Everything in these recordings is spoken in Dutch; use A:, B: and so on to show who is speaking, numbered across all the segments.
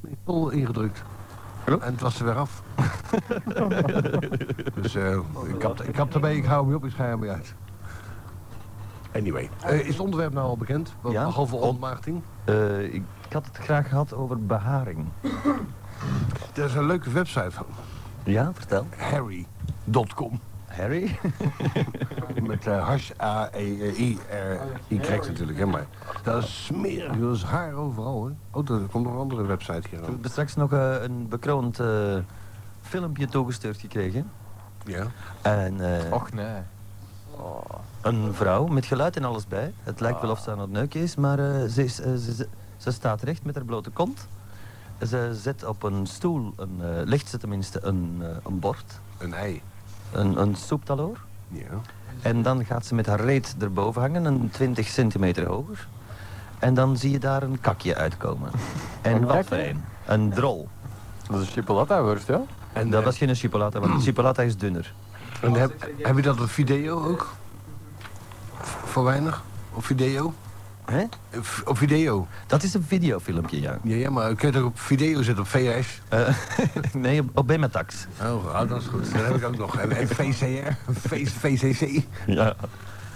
A: die pol ingedrukt.
B: Hallo?
A: En het was er weer af. dus eh, ik, had, ik had erbij, ik hou hem niet op, ik schei hem weer uit. Anyway, eh, is het onderwerp nou al bekend? Wat-
C: Ja.
A: Behalve ontmaagding.
C: Eh, ik, ik had het graag gehad over beharing.
A: Er is een leuke website van
C: Ja, vertel.
A: harry.com
C: Harry?
A: met eh E hash A-E-I-R-Y natuurlijk, hè, maar dat is smerig, dat is haar overal, hè. Oh, er komt nog een andere website hier
C: Ik heb
A: aan.
C: straks nog eh, een bekroond eh, filmpje toegestuurd gekregen.
A: Ja.
C: En eh,
D: Och nee.
C: een vrouw met geluid en alles bij. Het lijkt wel of ze aan het neuken is, maar eh, ze, is, eh, ze, ze- ze staat recht met haar blote kont. Ze zet op een stoel, een, eh, legt ze tenminste een, eh, een bord,
A: Een ei.
C: een, een soeptaloor.
A: Ja.
C: En dan gaat ze met haar reet erboven hangen, een 20 centimeter hoger. En dan zie je daar een kakje uitkomen. En wat voor een? Een drol.
D: Dat is een chipolata-worst, ja?
C: En eh, dat was geen chipolata, want chipolata is dunner.
A: En heb, heb je dat op video ook? V- Voor weinig? Op video?
C: Hè?
A: Eh, v- Op video.
C: Dat is een videofilmpje, ja.
A: Ja, ja, maar kun je het ook op video zetten, op VHS?
C: Nee, op, op Bematax.
A: Oh, oh, dat is goed. Dat heb ik ook nog. En, en VCR? V- VCC?
C: Ja.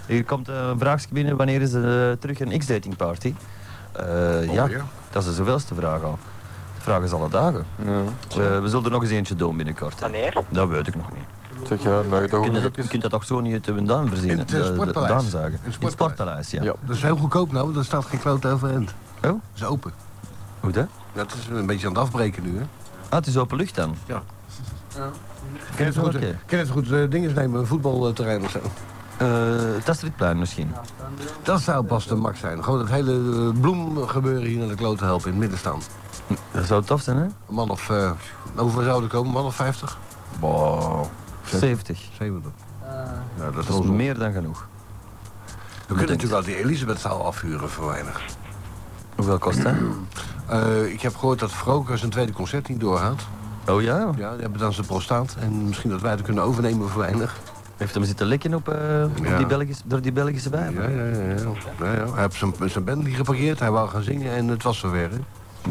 C: Hier komt eh, een vraagje binnen, wanneer is er eh, terug een X-dating party? Eh,
A: Oh,
C: ja,
A: ja.
C: dat is de zoveelste vraag al. De vraag is alle dagen. Eh, we zullen er nog eens eentje doen binnenkort. hè.
E: Wanneer?
C: Dat weet ik nog niet.
D: Zeg je, nou, je toch
C: Je
D: ook
C: kunt
D: nog
C: dat, je
D: even...
C: kunt dat toch zo niet uit een duim verzinnen?
A: In het, eh,
C: de- de- de
A: sportpaleis.
C: duim zagen.
A: In het
C: In het
A: sportpaleis.
C: sportpaleis, ja.
D: Ja.
A: Dat is heel goedkoop nou, want er staat geen kloot overeind.
C: Oh?
A: Dat is open.
C: Goed, hè?
A: Dat is een beetje aan het afbreken nu, hè?
C: Ah, het is open lucht dan.
A: Ja.
C: Vind je
A: Kun je
C: het
A: het
C: wel
A: goed,
C: oké?
A: kun je het goed eh, dingen nemen, een voetbalterrein of zo?
C: Eh, het Astridplein misschien.
A: Dat zou pas de max zijn. Gewoon het hele eh, bloemgebeuren hier naar de kloot helpen, in het midden staan.
C: Dat zou tof zijn, hè?
A: Een man of, eh hoeveel zouden komen? Een man of 50?
C: Wow. 70.
A: 70. nou, dat is
C: Dat is
A: ons meer.
C: meer dan genoeg.
A: We kunnen natuurlijk wel die Elisabethzaal afhuren voor weinig.
C: Hoeveel kost dat?
A: Eh, ik heb gehoord dat Vroker zijn tweede concert niet doorgaat.
C: Oh ja?
A: Ja, die hebben dan zijn prostaat. En misschien dat wij het kunnen overnemen voor weinig.
C: Heeft hem zitten likken op, eh, op
A: Ja.
C: die Belgische, door die Belgische
A: Ja,
C: wijven?
A: ja, ja. ja. ja, ja. Hij heeft zijn, zijn band niet geparkeerd. Hij wou gaan zingen en het was zover. Hè?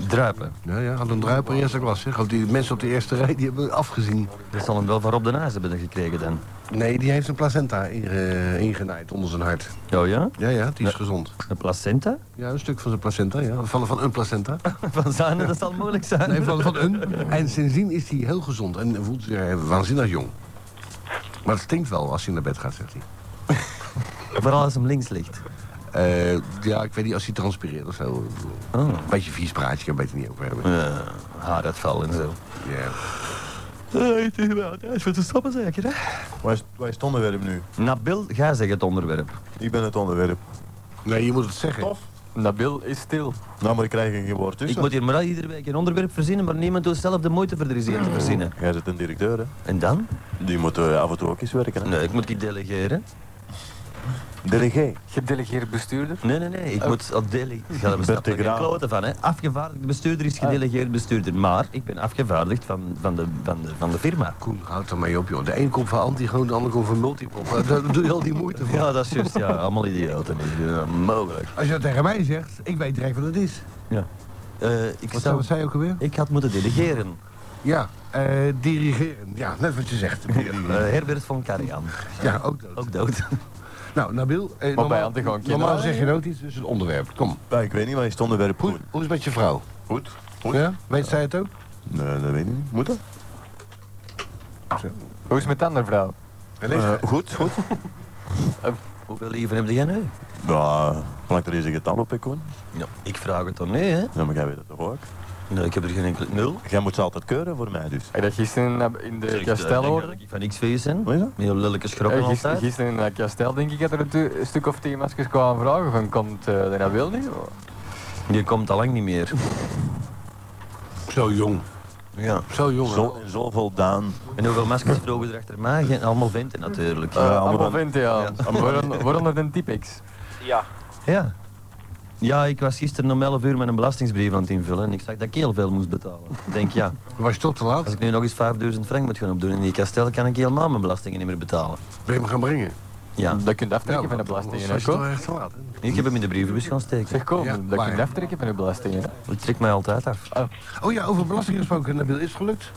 C: Druipen.
A: Ja, ja. Had een druiper eerste klas. Hè? Had Die mensen op de eerste rij die hebben afgezien.
C: Dat zal hem wel van Rob de Naas hebben gekregen dan.
A: Nee, die heeft een placenta inge- ingenaaid onder zijn hart.
C: Oh ja?
A: Ja, ja. Die is
C: Ja.
A: gezond.
C: Een placenta?
A: Ja, een stuk van zijn placenta. Ja. Van, van een placenta.
C: Van Zanen, dat zal moeilijk zijn.
A: Nee, van, van een. En sindsdien is hij heel gezond en voelt zich eh, waanzinnig jong. Maar het stinkt wel als hij naar bed gaat, zegt hij.
C: Vooral als hem links ligt.
A: Eh, ja, ik weet niet, als hij transpireert of zo.
C: Oh.
A: Een beetje vies praatje, kan beter niet over hebben.
C: Eh, haaruitval en zo.
A: Ja.
C: Het is wel thuis voor te stoppen zeker hè?
F: Waar is, waar is het onderwerp nu?
C: Nabil, jij zegt het onderwerp.
F: Ik ben het onderwerp.
A: Nee, je moet het zeggen.
F: Tof.
D: Nabil is stil.
F: Nou, maar ik krijg een woord
C: Ik
F: tussen.
C: moet hier maar iedere week een onderwerp verzinnen, maar niemand doet zelf de moeite voor er eens een te verzinnen.
F: Jij zit een directeur, hè?
C: En dan?
F: Die moet eh, af en toe ook eens werken, hè?
C: Nee, ik moet die delegeren.
F: DRG.
D: Gedelegeerd bestuurder.
C: Nee, nee, nee. Ik moet al delegeren. Daar bestaat er geen
F: Graaf.
C: klote van, hè. Afgevaardigd bestuurder is gedelegeerd bestuurder. Maar ik ben afgevaardigd van, van, de, van, de, van de firma.
A: Koen, houd er mee op, joh. De een komt van antigoon, de ander komt van multiprop. Eh, Daar doe je al die moeite voor.
C: Ja, dat is juist. Ja, allemaal idioten. Ja, mogelijk.
A: Als je dat tegen mij zegt, ik weet direct wat het is.
C: Ja. Eh, ik,
A: Wat
C: zou,
A: zei je ook alweer?
C: ik had moeten delegeren.
A: Ja, eh, dirigeren. Ja, net wat je zegt.
C: Eh, Herbert van Karajan.
A: ja, ook dat.
C: Ook dood.
A: Nou, Nabil, eh, normaal,
D: Antigoon kinderen-
A: normaal zeg je nooit iets, dus het onderwerp. Kom,
F: Ja, ik weet niet, maar is het onderwerp
A: hoe,
F: goed?
A: hoe is het met je vrouw?
F: Goed. Goed?
A: Ja? Weet zij het ook?
F: Nee, dat weet ik niet. Moet dat?
D: Hoe is het met de andere vrouw?
F: Eh, goed, goed.
C: Hoeveel liever heb jij nu?
F: Ja, plak er eens een getal op, hè, Koen.
C: Ja, ik vraag het dan nee, hè?
F: Ja, maar jij weet het toch ook?
C: Nee, ik heb er geen enkele nul.
F: Jij moet ze altijd keuren voor mij, dus.
D: Heb je dat gisteren in de
C: Ik eh, denk
D: Castel
C: dat
D: hoorde?
C: ik van niks feest ben.
F: Wat is dat?
C: Met een lelijke schrokken
D: Eh, Gisteren,
C: altijd.
D: gisteren in de Castel denk ik dat er een, tu- een stuk of tien mensen kwamen vragen van komt eh de Nabil niet?
C: Die komt al lang niet meer.
A: Zo jong.
C: Ja.
A: Zo jong. hè?
F: Zo, zo voldaan.
C: En hoeveel maskers vroegen er achter mij? Geen, allemaal venten natuurlijk.
D: Eh, allemaal
F: allemaal-
D: vindt ja. Waaronder- Waaronder een typex.
E: Ja.
C: Ja. Ja, ik was gisteren om 11 uur met een belastingsbrief aan het invullen en ik zag dat ik heel veel moest betalen. Ik denk ja,
A: Was je tot te
C: als
A: laat?
C: ik nu nog eens 5000 frank moet gaan opdoen in die kastel, kan ik helemaal mijn belastingen niet meer betalen.
A: Ben je hem gaan brengen?
C: Ja.
D: Dat kun je aftrekken van de
A: want
D: belasting, hè,
A: anders was je
D: Ko?
A: toch echt laat, hè?
C: Ik heb hem in de brievenbus gaan steken.
D: Zeg, Ko,
A: Ja,
D: dat kun
A: maar-
D: je aftrekken van de belasting, hè?
C: Dat trekt mij altijd af.
A: Oh ja, over belasting gesproken, Nabil, is het gelukt?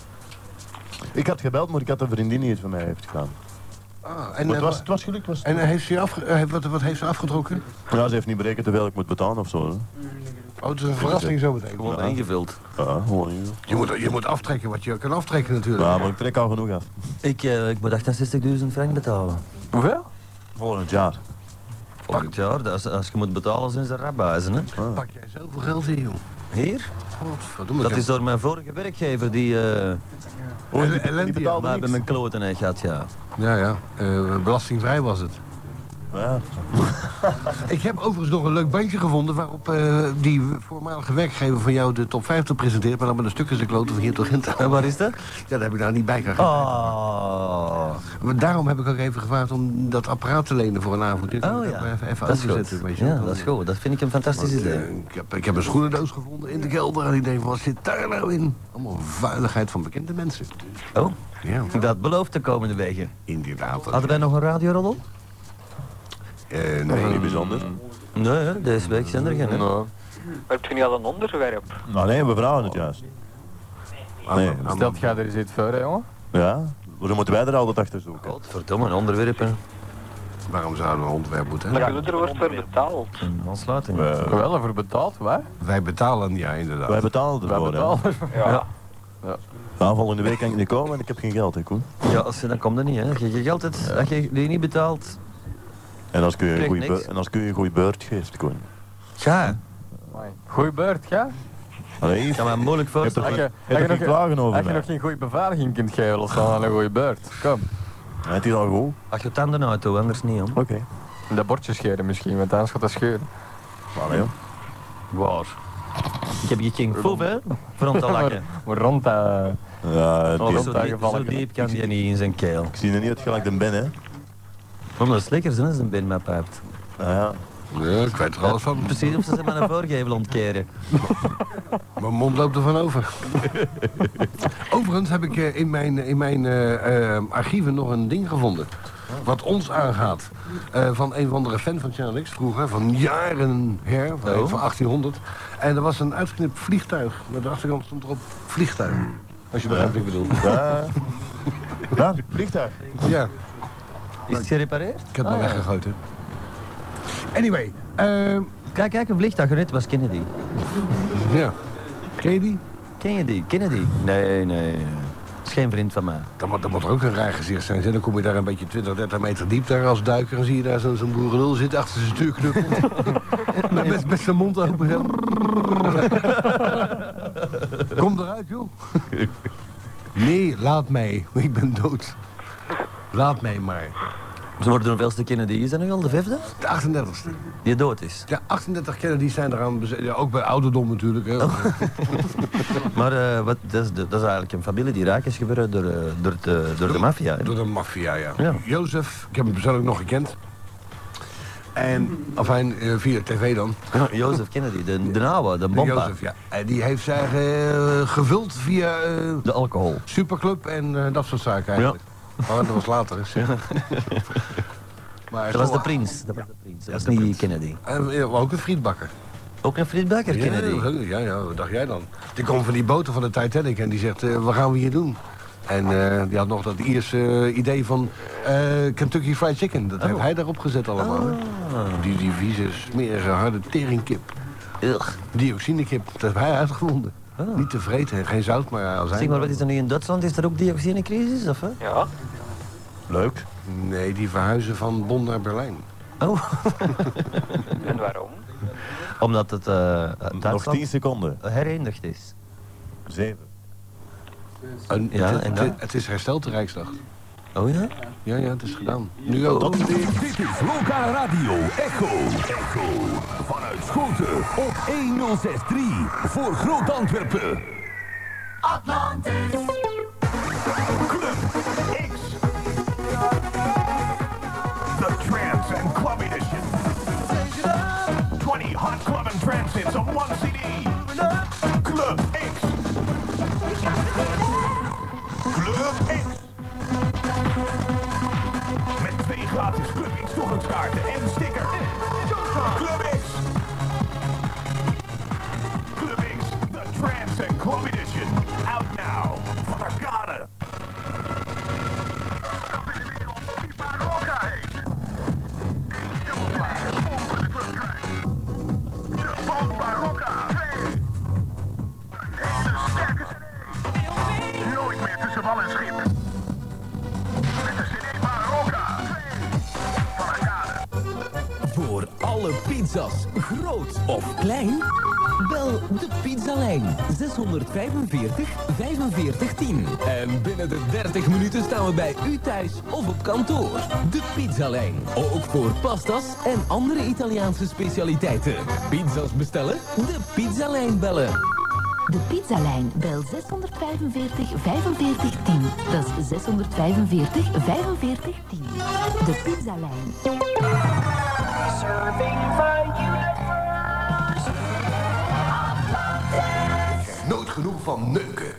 F: Ik had gebeld, maar ik had een vriendin die het van mij heeft gedaan.
A: Ah, en,
F: Maar het
A: eh,
F: was, het Oh, was gelukt. Was...
A: en heeft ze afge- eh, wat, wat heeft ze afgetrokken?
F: Ja, ze heeft niet berekend hoeveel ik moet betalen of zo. hè.
A: Oh, het is een verrassing zo meteen.
C: Gewoon
F: Ja.
C: ingevuld.
F: Ja, gewoon. ja.
A: Je moet, je moet aftrekken wat je kan aftrekken natuurlijk.
F: Ja, maar ik trek al genoeg af.
C: Ik, eh, ik moet 68.000 frank betalen.
D: Hoeveel?
F: Volgend jaar.
C: Volgend jaar, dat is- als je moet betalen, zijn ze rabbijzen. Hè?
A: Pak jij zoveel geld in, joh.
C: Hier?
A: Godverdomme.
C: Dat is door mijn vorige werkgever die, eh
F: Oh, die-
A: Eh,
F: die
A: ellende,
F: betaalde
C: waar bij
F: niks.
C: mijn kloten heeft gehad, ja.
A: Ja, ja. Eh, belastingvrij was het.
F: Ja.
A: Ik heb overigens nog een leuk bandje gevonden waarop eh, die voormalige werkgever van jou de top 50 presenteert, maar dan met een stuk in zijn kloten van hier tot Gent.
C: En Eh, waar is dat?
A: Ja, dat heb ik daar niet bij gehad.
C: Oh,
A: Maar Daarom heb ik ook even gevraagd om dat apparaat te lenen voor een avond. Dit moet
C: oh
A: ik ook maar
C: ja.
A: even, even
C: dat is
A: overzetten,
C: goed.
A: weet je wel.
C: Ja, dat is goed. Dat vind ik een fantastisch
A: Want,
C: idee.
A: eh, ik, heb, ik heb een schoenendoos gevonden in de kelder en ik denk, wat zit daar nou in? Allemaal vuiligheid van bekende mensen.
C: Oh,
A: Ja,
C: dat belooft de komende wegen.
A: inderdaad. dat-
C: Hadden wij nog een radioraddel?
A: Eh, nee,
F: Nee, niet bijzonder.
C: Nee, hè, deze week zijn er geen. hè.
D: Nou,
B: Heb je niet al een onderwerp?
F: Nou, nee, we vragen het juist. Nee.
A: allemaal-
D: stelt jij er eens iets voor, hè, jongen?
F: Ja, waarom moeten wij er altijd achter zoeken?
C: Godverdomme, onderwerpen.
A: Waarom zouden we een onderwerp moeten
B: Maar
A: hebben?
B: je er wordt voor betaald.
C: Een aansluiting.
F: We,
D: Wel, ervoor betaald, wij?
A: Wij betalen, ja, inderdaad.
F: wij betalen
D: Wij
F: ervoor, hè.
D: betalen.
C: Ja.
F: Nou, volgende week kan ik niet komen en ik heb geen geld, hè, Koen.
C: Ja, als je, dan komt er niet, hè. Als je je geld hebt, als je die niet betaalt,
F: En als ik je een
C: Krijg
F: goeie
C: niks.
F: beur- en als ik je een goede beurt geeft, Koen.
C: ga.
D: Goeie beurt, ja?
F: Allee,
C: Ik kan me moeilijk
D: Als
C: voorstellen.
D: je,
F: heb
D: als
F: je
D: je
F: geen
D: nog,
F: klagen over
D: als je
F: mij.
D: nog geen goede beveiliging kunt geven, dan staan een goede beurt. Kom.
F: Ja, Het is al goed.
C: Als je tanden uit doet, anders niet, hoor.
F: Oké.
D: Dat bordje scheren misschien, want anders gaat dat scheuren.
F: Allee, joh.
C: Waar? Ik heb je geen foef, hè? Front te lakken.
D: Maar rond eh, dat...
F: Ja, het
D: Oh,
F: is-
C: zo, diep, zo diep kan je niet in zijn keel.
F: ik zie er niet uit gelijk een ben, hè.
C: Want dat is lekker, zijn als een bin met pijpt.
F: Nou ja,
A: Ja, ik weet er alles van.
C: Precies, of ze zijn maar een voorgevel ontkeren.
A: Mijn mond loopt er van over. Overigens heb ik eh, in mijn, in mijn eh, eh, archieven nog een ding gevonden. Wat ons aangaat. Eh, van een of andere fan van Channel X vroeger. Van jaren her. Van,
C: Oh.
A: van 1800. En er was een uitgeknipt vliegtuig. Met de achterkant stond erop vliegtuig. Als je begrijpt wat ik bedoel.
F: ja. Ja, vliegtuig. Oh,
A: Ja,
C: Is het gerepareerd?
A: ik heb het maar weggegooid. hè. Anyway. eh,
C: Kijk, kijk, een vliegtuig. Het was Kennedy.
A: ja. Ken je die?
C: Ken je die? Kennedy? Nee, nee. nee. Dat is geen vriend van mij.
A: Dan moet, dan moet er ook een raar gezicht zijn. zeg. Dan kom je daar een beetje 20, 30 meter diep daar als duiker. En zie je daar zo'n zo'n boerenlul zitten achter zijn stuurknuppel. met, met zijn mond open. zo. kom eruit, joh. nee, laat mij. Ik ben dood. Laat mij maar.
C: Ze worden er veelste Kennedy. Is dat nu al de vijfde?
A: De 38ste.
C: Die dood is.
A: Ja, 38 Kennedy's zijn eraan bezet. Ja, ook bij ouderdom natuurlijk. Hè.
C: Maar eh, wat, dat, is de- dat is eigenlijk een familie die raak is gebeurd door, eh, door, de, door de maffia. hè?
A: Door de maffia, ja.
C: Ja.
A: Jozef, ik heb hem persoonlijk nog gekend. En, afijn, eh, via tv dan.
C: Jozef Kennedy, de, de oude, de bompa.
A: Jozef, ja. En die heeft zich eh, gevuld via eh,
C: De alcohol.
A: Superclub en eh, dat soort zaken eigenlijk. Maar dat was later, is. maar
C: Dat was
A: zo-
C: de prins. Dat was de prins. Dat was
A: de
C: niet
A: prins.
C: Kennedy.
A: En, eh, maar ook een frietbakker.
C: Ook een Fred Bakker Kennedy.
A: Ja, ja, ja, wat dacht jij dan? Die komt van die boten van de Titanic en die zegt, eh, wat gaan we hier doen? En eh, die had nog dat Ierse eh, idee van eh, Kentucky Fried Chicken.
C: Oh.
A: Dat heeft hij daarop gezet allemaal. hè.
C: Ah.
A: Die, die vieze, smerige, harde teringkip.
C: Ugh.
A: Dioxinekip, dat heeft hij uitgevonden. Niet te vreten, geen zout, maar als
C: Oh. Zeg maar, wat is er nu in Duitsland? Is er ook dioxinecrisis? Of, hè?
B: Ja.
F: Leuk.
A: Nee, die verhuizen van Bonn naar Berlijn.
C: Oh,
B: En waarom?
C: omdat het eh
F: Nog 10
C: Duitsland
F: seconden.
C: herenigd is.
F: 7.
A: En
C: Ja,
A: het,
C: en
A: het-
C: dan?
A: het is hersteld de Rijksdag.
C: Oh ja?
A: Ja, ja, het is gedaan.
C: Oh.
A: Nu ook.
E: Dit is Lokaal Radio Echo. Echo. Vanuit Schoten op 1063 voor Groot Antwerpen. Atlantis. Club X. The Trance and Club Edition. 20 hot club and trance hits on one CD. Club X. Club X. Met twee Gratis Club X toegangskaarten en sticker. Club X. Club X, the Trance and Club Edition. Out now. Van Arcade. Nooit meer tussen wal en schip. Met de CD Barocca. Van Arcade.
G: Voor alle pizza's, groot of klein, bel de pizzalijn 645 45 10. En binnen de 30 minuten staan we bij u thuis of op kantoor. De pizzalijn, ook voor pasta's en andere Italiaanse specialiteiten. Pizza's bestellen? De pizzalijn bellen.
H: De pizzalijn bel 645 45 10. Dat is 645 45 10. De pizzalijn.
A: Nooit genoeg van neuken.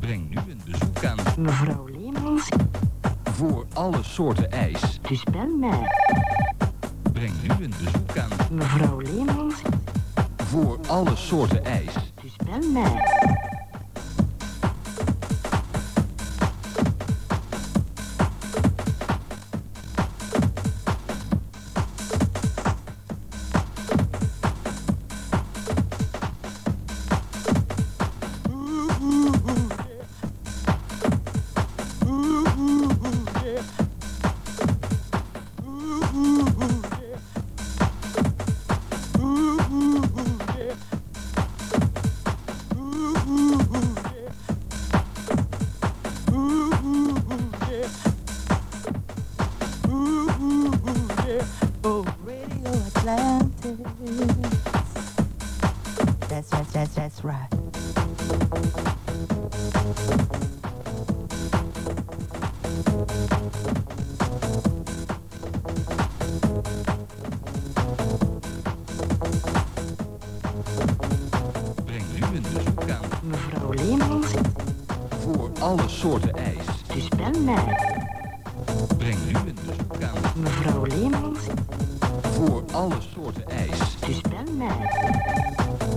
I: Breng nu een bezoek aan
H: Mevrouw Leemans,
I: voor alle soorten ijs.
H: dus bel mij.
I: Breng nu een bezoek aan
H: Mevrouw Leemans,
I: voor alle soorten ijs.
H: dus bel mij.
J: Oh, Radio Atlantis. That's right, that's, that's right.
I: Breng nu een bezoek aan
H: Mevrouw Leemans,
I: voor alle soorten ijs.
H: dus bel mij.
I: Breng nu een bezoek aan
H: Mevrouw Leemans,
I: voor alle soorten ijs.
H: dus bel mij.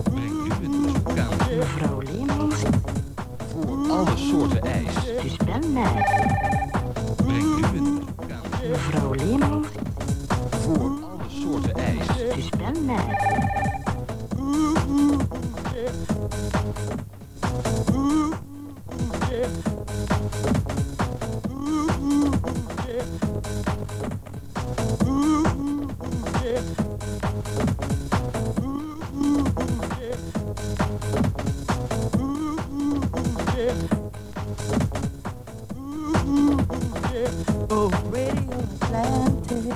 I: Breng nu een bezoek aan
H: Mevrouw Leemans,
I: voor alle soorten ijs.
H: dus bel mij.
I: Breng nu een bezoek aan
H: Mevrouw Leemans,
I: voor alle soorten ijs.
H: dus bel mij.
J: Oh, Radio Atlantis.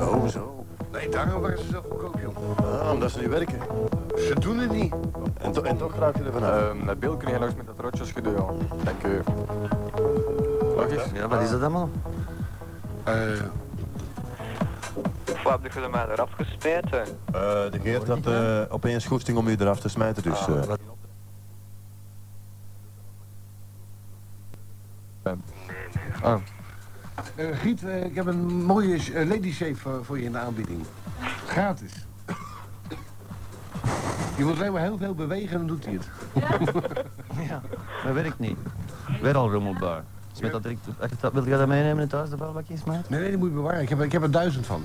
F: Oh, zo.
A: Nee, daarom waren ze zo goedkoop, joh.
F: Ah, omdat ze niet werken.
A: Ze doen het niet.
F: En, to- en toch raak je er vanaf.
D: Ehm, dat beeld kun je langs met dat rotjesgedoe al. Dank u. Logisch.
C: Ja, wat is dat allemaal?
A: Eh,
B: Of wat heb je er mij eraf gesmeten?
F: Eh, de Geert had eh, opeens goesting om u eraf te smijten, dus... eh,
A: eh, Giet, eh, ik heb een mooie eh, lady shave voor, voor je in de aanbieding. Gratis. Je moet alleen maar heel veel bewegen en dan doet hij het.
C: Dat werkt niet. Weer al rommelbaar. Dus met dat drinktoestel. Wil jij dat meenemen thuis, de vuilbak eens, maat?
A: Nee, nee, die moet je bewaren. Ik heb, ik heb er duizend van.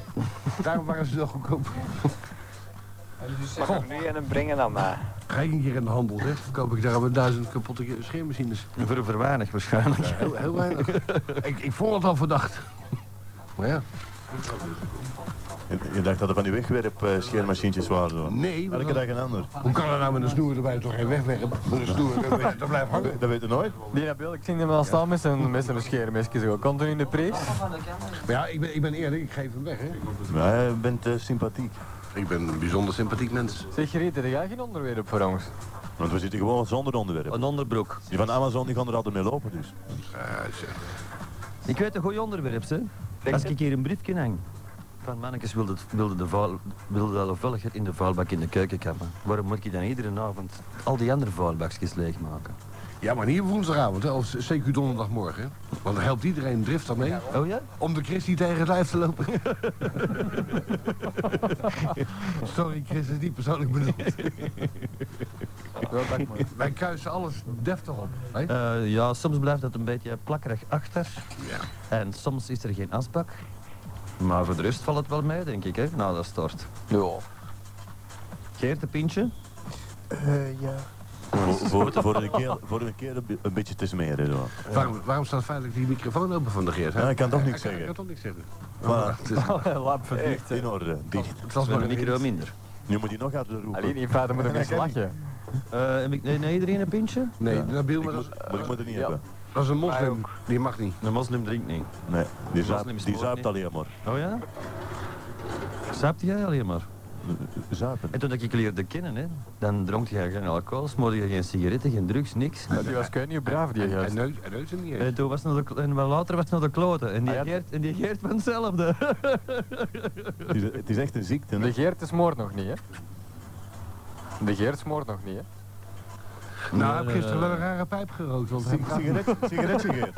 A: Daarom waren ze wel goedkoop.
B: Mag ik hem nu en hem brengen dan maar.
A: Kijk hier in de handel, zeg. Verkoop ik daar met duizend kapotte scheermachines.
C: Voor, voor weinig waarschijnlijk.
A: Heel, heel weinig. ik, ik vond het al verdacht. Maar ja.
F: Je, je dacht dat er van die wegwerp eh, scheermachientjes waren. Zo.
A: Nee, maar
F: Elke
A: dan-
F: dag een ander.
A: hoe kan er nou met een snoer erbij toch geen wegwerpen? Met een snoer erbij, dat blijft hangen.
F: Dat weet je nooit.
D: Eh, Die heb ik zien hem al staan met zijn, met zijn scheermesje zo. Komt er in de prijs?
A: Maar ja, ik ben, ik ben eerlijk, ik geef hem weg, hè.
F: Maar je bent eh, sympathiek.
A: Ik ben een bijzonder sympathiek mens.
D: Zeg Griet, heb jij geen onderwerp voor ons?
F: Want we zitten gewoon zonder onderwerp.
C: Een onderbroek.
F: Die van Amazon die gaan er altijd mee lopen dus.
A: Ja, zeg.
C: Ik weet een goeie onderwerp, hè. Als ik hier een briefje hang. Van mannetjes wilde, het- wilde, de vuil, wilde de vuiliger in de vuilbak in de keuken kappen. Waarom moet ik dan iedere avond al die andere vuilbakjes leegmaken?
A: ja, maar niet op woensdagavond, hè. Of zeker donderdagmorgen. hè. Want dan helpt iedereen drift daarmee.
C: Oh ja?
A: Om de Christie tegen het lijf te lopen. Sorry, Chris, dat is niet persoonlijk bedoeld.
D: Wel, dank maar.
A: Wij kuisen alles deftig op. Hè?
C: Eh, ja, soms blijft dat een beetje plakkerig achter.
A: Ja.
C: En soms is er geen asbak. Maar voor de rest valt het wel mee, denk ik, hè, na dat stort.
D: Ja.
C: Geert een pintje?
J: ja.
F: Voor, voor, voor, een, keer, voor een keer een, be- een beetje te smeren. Zo.
A: Waarom, waarom staat feitelijk die microfoon open van de Geert? hè?
F: Ja, ik kan toch niks
A: Hij kan- hij
F: zeggen.
A: kan toch niks zeggen.
F: Maar
A: Het is-
D: Lap verdicht.
F: in orde, dicht.
A: Het was
C: Voor
A: maar
C: een
A: een
C: micro minder.
F: Nu moet je nog harder roepen.
D: Alleen in feite moet ik eens lachen.
C: Eh, heb ik, nee, nee, iedereen een pintje?
A: Nee, Nabil, maar
F: Ik
A: dat,
F: moet,
A: is-
F: maar ik moet het niet
D: Ja.
F: hebben.
A: dat is een moslim. Die mag niet.
C: De moslim drinkt niet.
F: Nee, die
C: moslim is
F: zuipt, die
C: moord,
F: zuipt
C: hè?
F: alleen maar.
C: Oh ja? Sapte jij alleen maar?
F: Eh, Zuipen.
C: En toen ik je leerde kennen, hè, dan dronk je geen alcohol, smoorde je geen sigaretten, geen drugs, niks.
D: Ja, Die was kei niet braaf, die
A: Hij
D: juist.
A: neus, hij neus hem niet eens.
C: En toen was het nog de, en wel later was het nog de kloten. En die,
D: Ah, ja.
C: Geert, en die Geert van hetzelfde.
F: Het is, het is echt een ziekte. hè?
D: De Geert is moord nog niet, hè? De Geert smoort nog niet, hè?
A: Nou, hij heeft gisteren wel een rare pijp gerookt. Want hij
F: Sig- Sigaret, sigaretje geeft.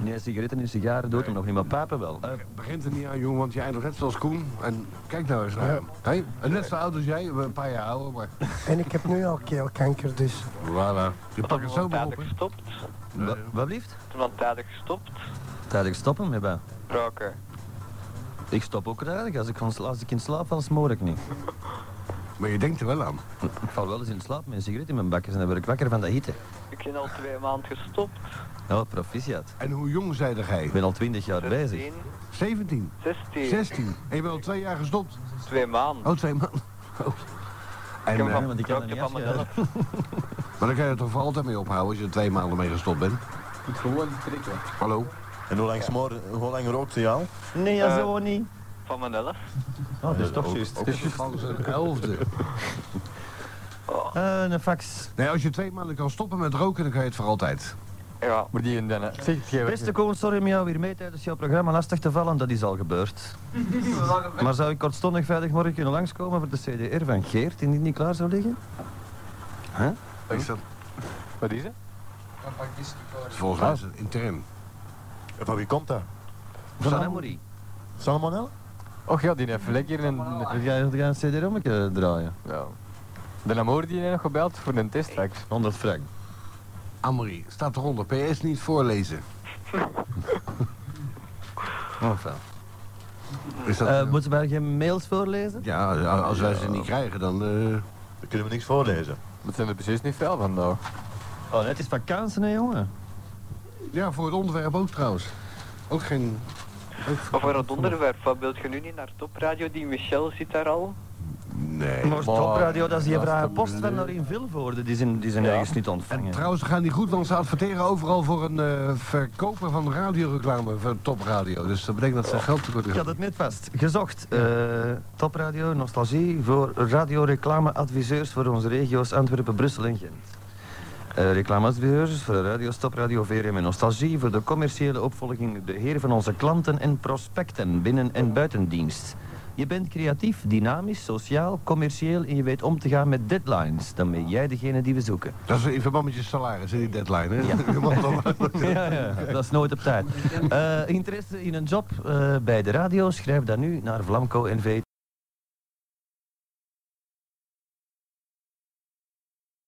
C: Nee, sigaretten en sigaren doet hem nog niet, maar papen wel. Eh,
A: begint er niet aan, jongen, want je eindigt net zoals Koen. En kijk nou eens naar hem. Hé, en net zo oud als jij, een paar jaar ouder, maar...
K: En ik heb nu al keelkanker, dus
A: Voilà. Je pakt het zo maar op,
B: Tijdig
A: hè.
B: gestopt.
C: wa- wat blieft?
B: Iemand tijdig gestopt.
C: Tijdig stoppen met bij.
B: Roken.
C: Ik stop ook tijdig. Als ik, van sla- als ik in slaap val, smoor ik niet.
A: Maar je denkt er wel aan.
C: Ik val wel eens in slaap met een sigaret in mijn bakjes en dan word ik wakker van de hitte.
B: Ik ben al twee maanden gestopt.
C: Oh, proficiat.
A: En hoe jong zijde jij?
C: Ik ben al twintig jaar bezig.
B: 16.
A: 17,
B: 16.
A: 16. En je bent al twee jaar gestopt.
B: Twee maanden.
A: Oh, twee maanden. Oh. En,
B: Ik heb
A: eh,
B: hem
C: want ik kan dat
B: gebroken
C: niet
B: van
C: afscheiden.
B: mezelf.
A: maar dan kan je er toch voor altijd mee ophouden als je er twee maanden mee gestopt bent.
D: Moet gewoon prikken.
A: Hallo?
F: En hoe lang, smoor, hoe lang rookt hij al?
C: Nee, ja, zo niet.
B: Van mezelf.
C: Oh, dat is toch juist.
A: Ook van zijn elfde.
C: Eh, een fax.
A: Nee, als je twee maanden kan stoppen met roken, dan kan je het voor altijd.
B: Ja.
D: Maar die en dan, hè. Zeg, jij
C: Beste Koen, sorry om jou weer mee tijdens jouw programma lastig te vallen, dat is al gebeurd. maar zou ik kortstondig vrijdagmorgen kunnen langskomen voor de CDR van Geert, indien die klaar zou liggen?
A: Is dat,
D: Wat is het?
A: volgens mij is het intern.
F: En Van wie komt dat?
C: Van Amory.
F: Salmonella?
D: Och ja, die heeft lekker een...
C: Wil jij wil jij een CDR om draaien?
D: Ja. De Lamour die heeft nog gebeld voor een testfax.
C: 100 frank.
A: Amory, staat eronder. PS niet voorlezen.
C: Oh, fijn.
A: Is dat,
C: Eh, moeten wij geen mails voorlezen?
A: ja, als wij ze niet krijgen, dan... eh,
F: Daar kunnen we niks voorlezen.
D: Dat zijn er precies niet veel nou. vandaag.
C: Oh, net is vakantie, hè, jongen.
A: Ja, voor het onderwerp ook trouwens. Ook geen...
B: Maar voor het onderwerp, wat wilt je nu niet naar topradio? Die Michel zit daar al.
A: Nee.
C: Maar topradio, dat is die
D: dat is
C: vragen
D: te
C: post van in Vilvoorde, die zijn, die zijn ergens niet ontvangen.
A: Trouwens, ze gaan niet goed, want ze adverteren overal voor een eh, verkoper van radioreclame, voor topradio. Dus dat betekent dat ze geld tekort
C: Ik had
A: hebben.
C: het net vast. Gezocht. Eh topradio, nostalgie voor radioreclameadviseurs voor onze regio's Antwerpen, Brussel en Gent. Eh reclameadviseurs voor de radio, topradio, VRM en nostalgie voor de commerciële opvolging, de heer van onze klanten en prospecten binnen en buitendienst. Je bent creatief, dynamisch, sociaal, commercieel en je weet om te gaan met deadlines. Dan ben jij degene die we zoeken.
A: Dat is in verband met je salaris, hè, die deadline, hè?
C: Ja.
A: Je mag dan-
C: Ja, ja, dat is nooit op tijd. Eh, interesse in een job eh, bij de radio? Schrijf dan nu naar Vlamco NV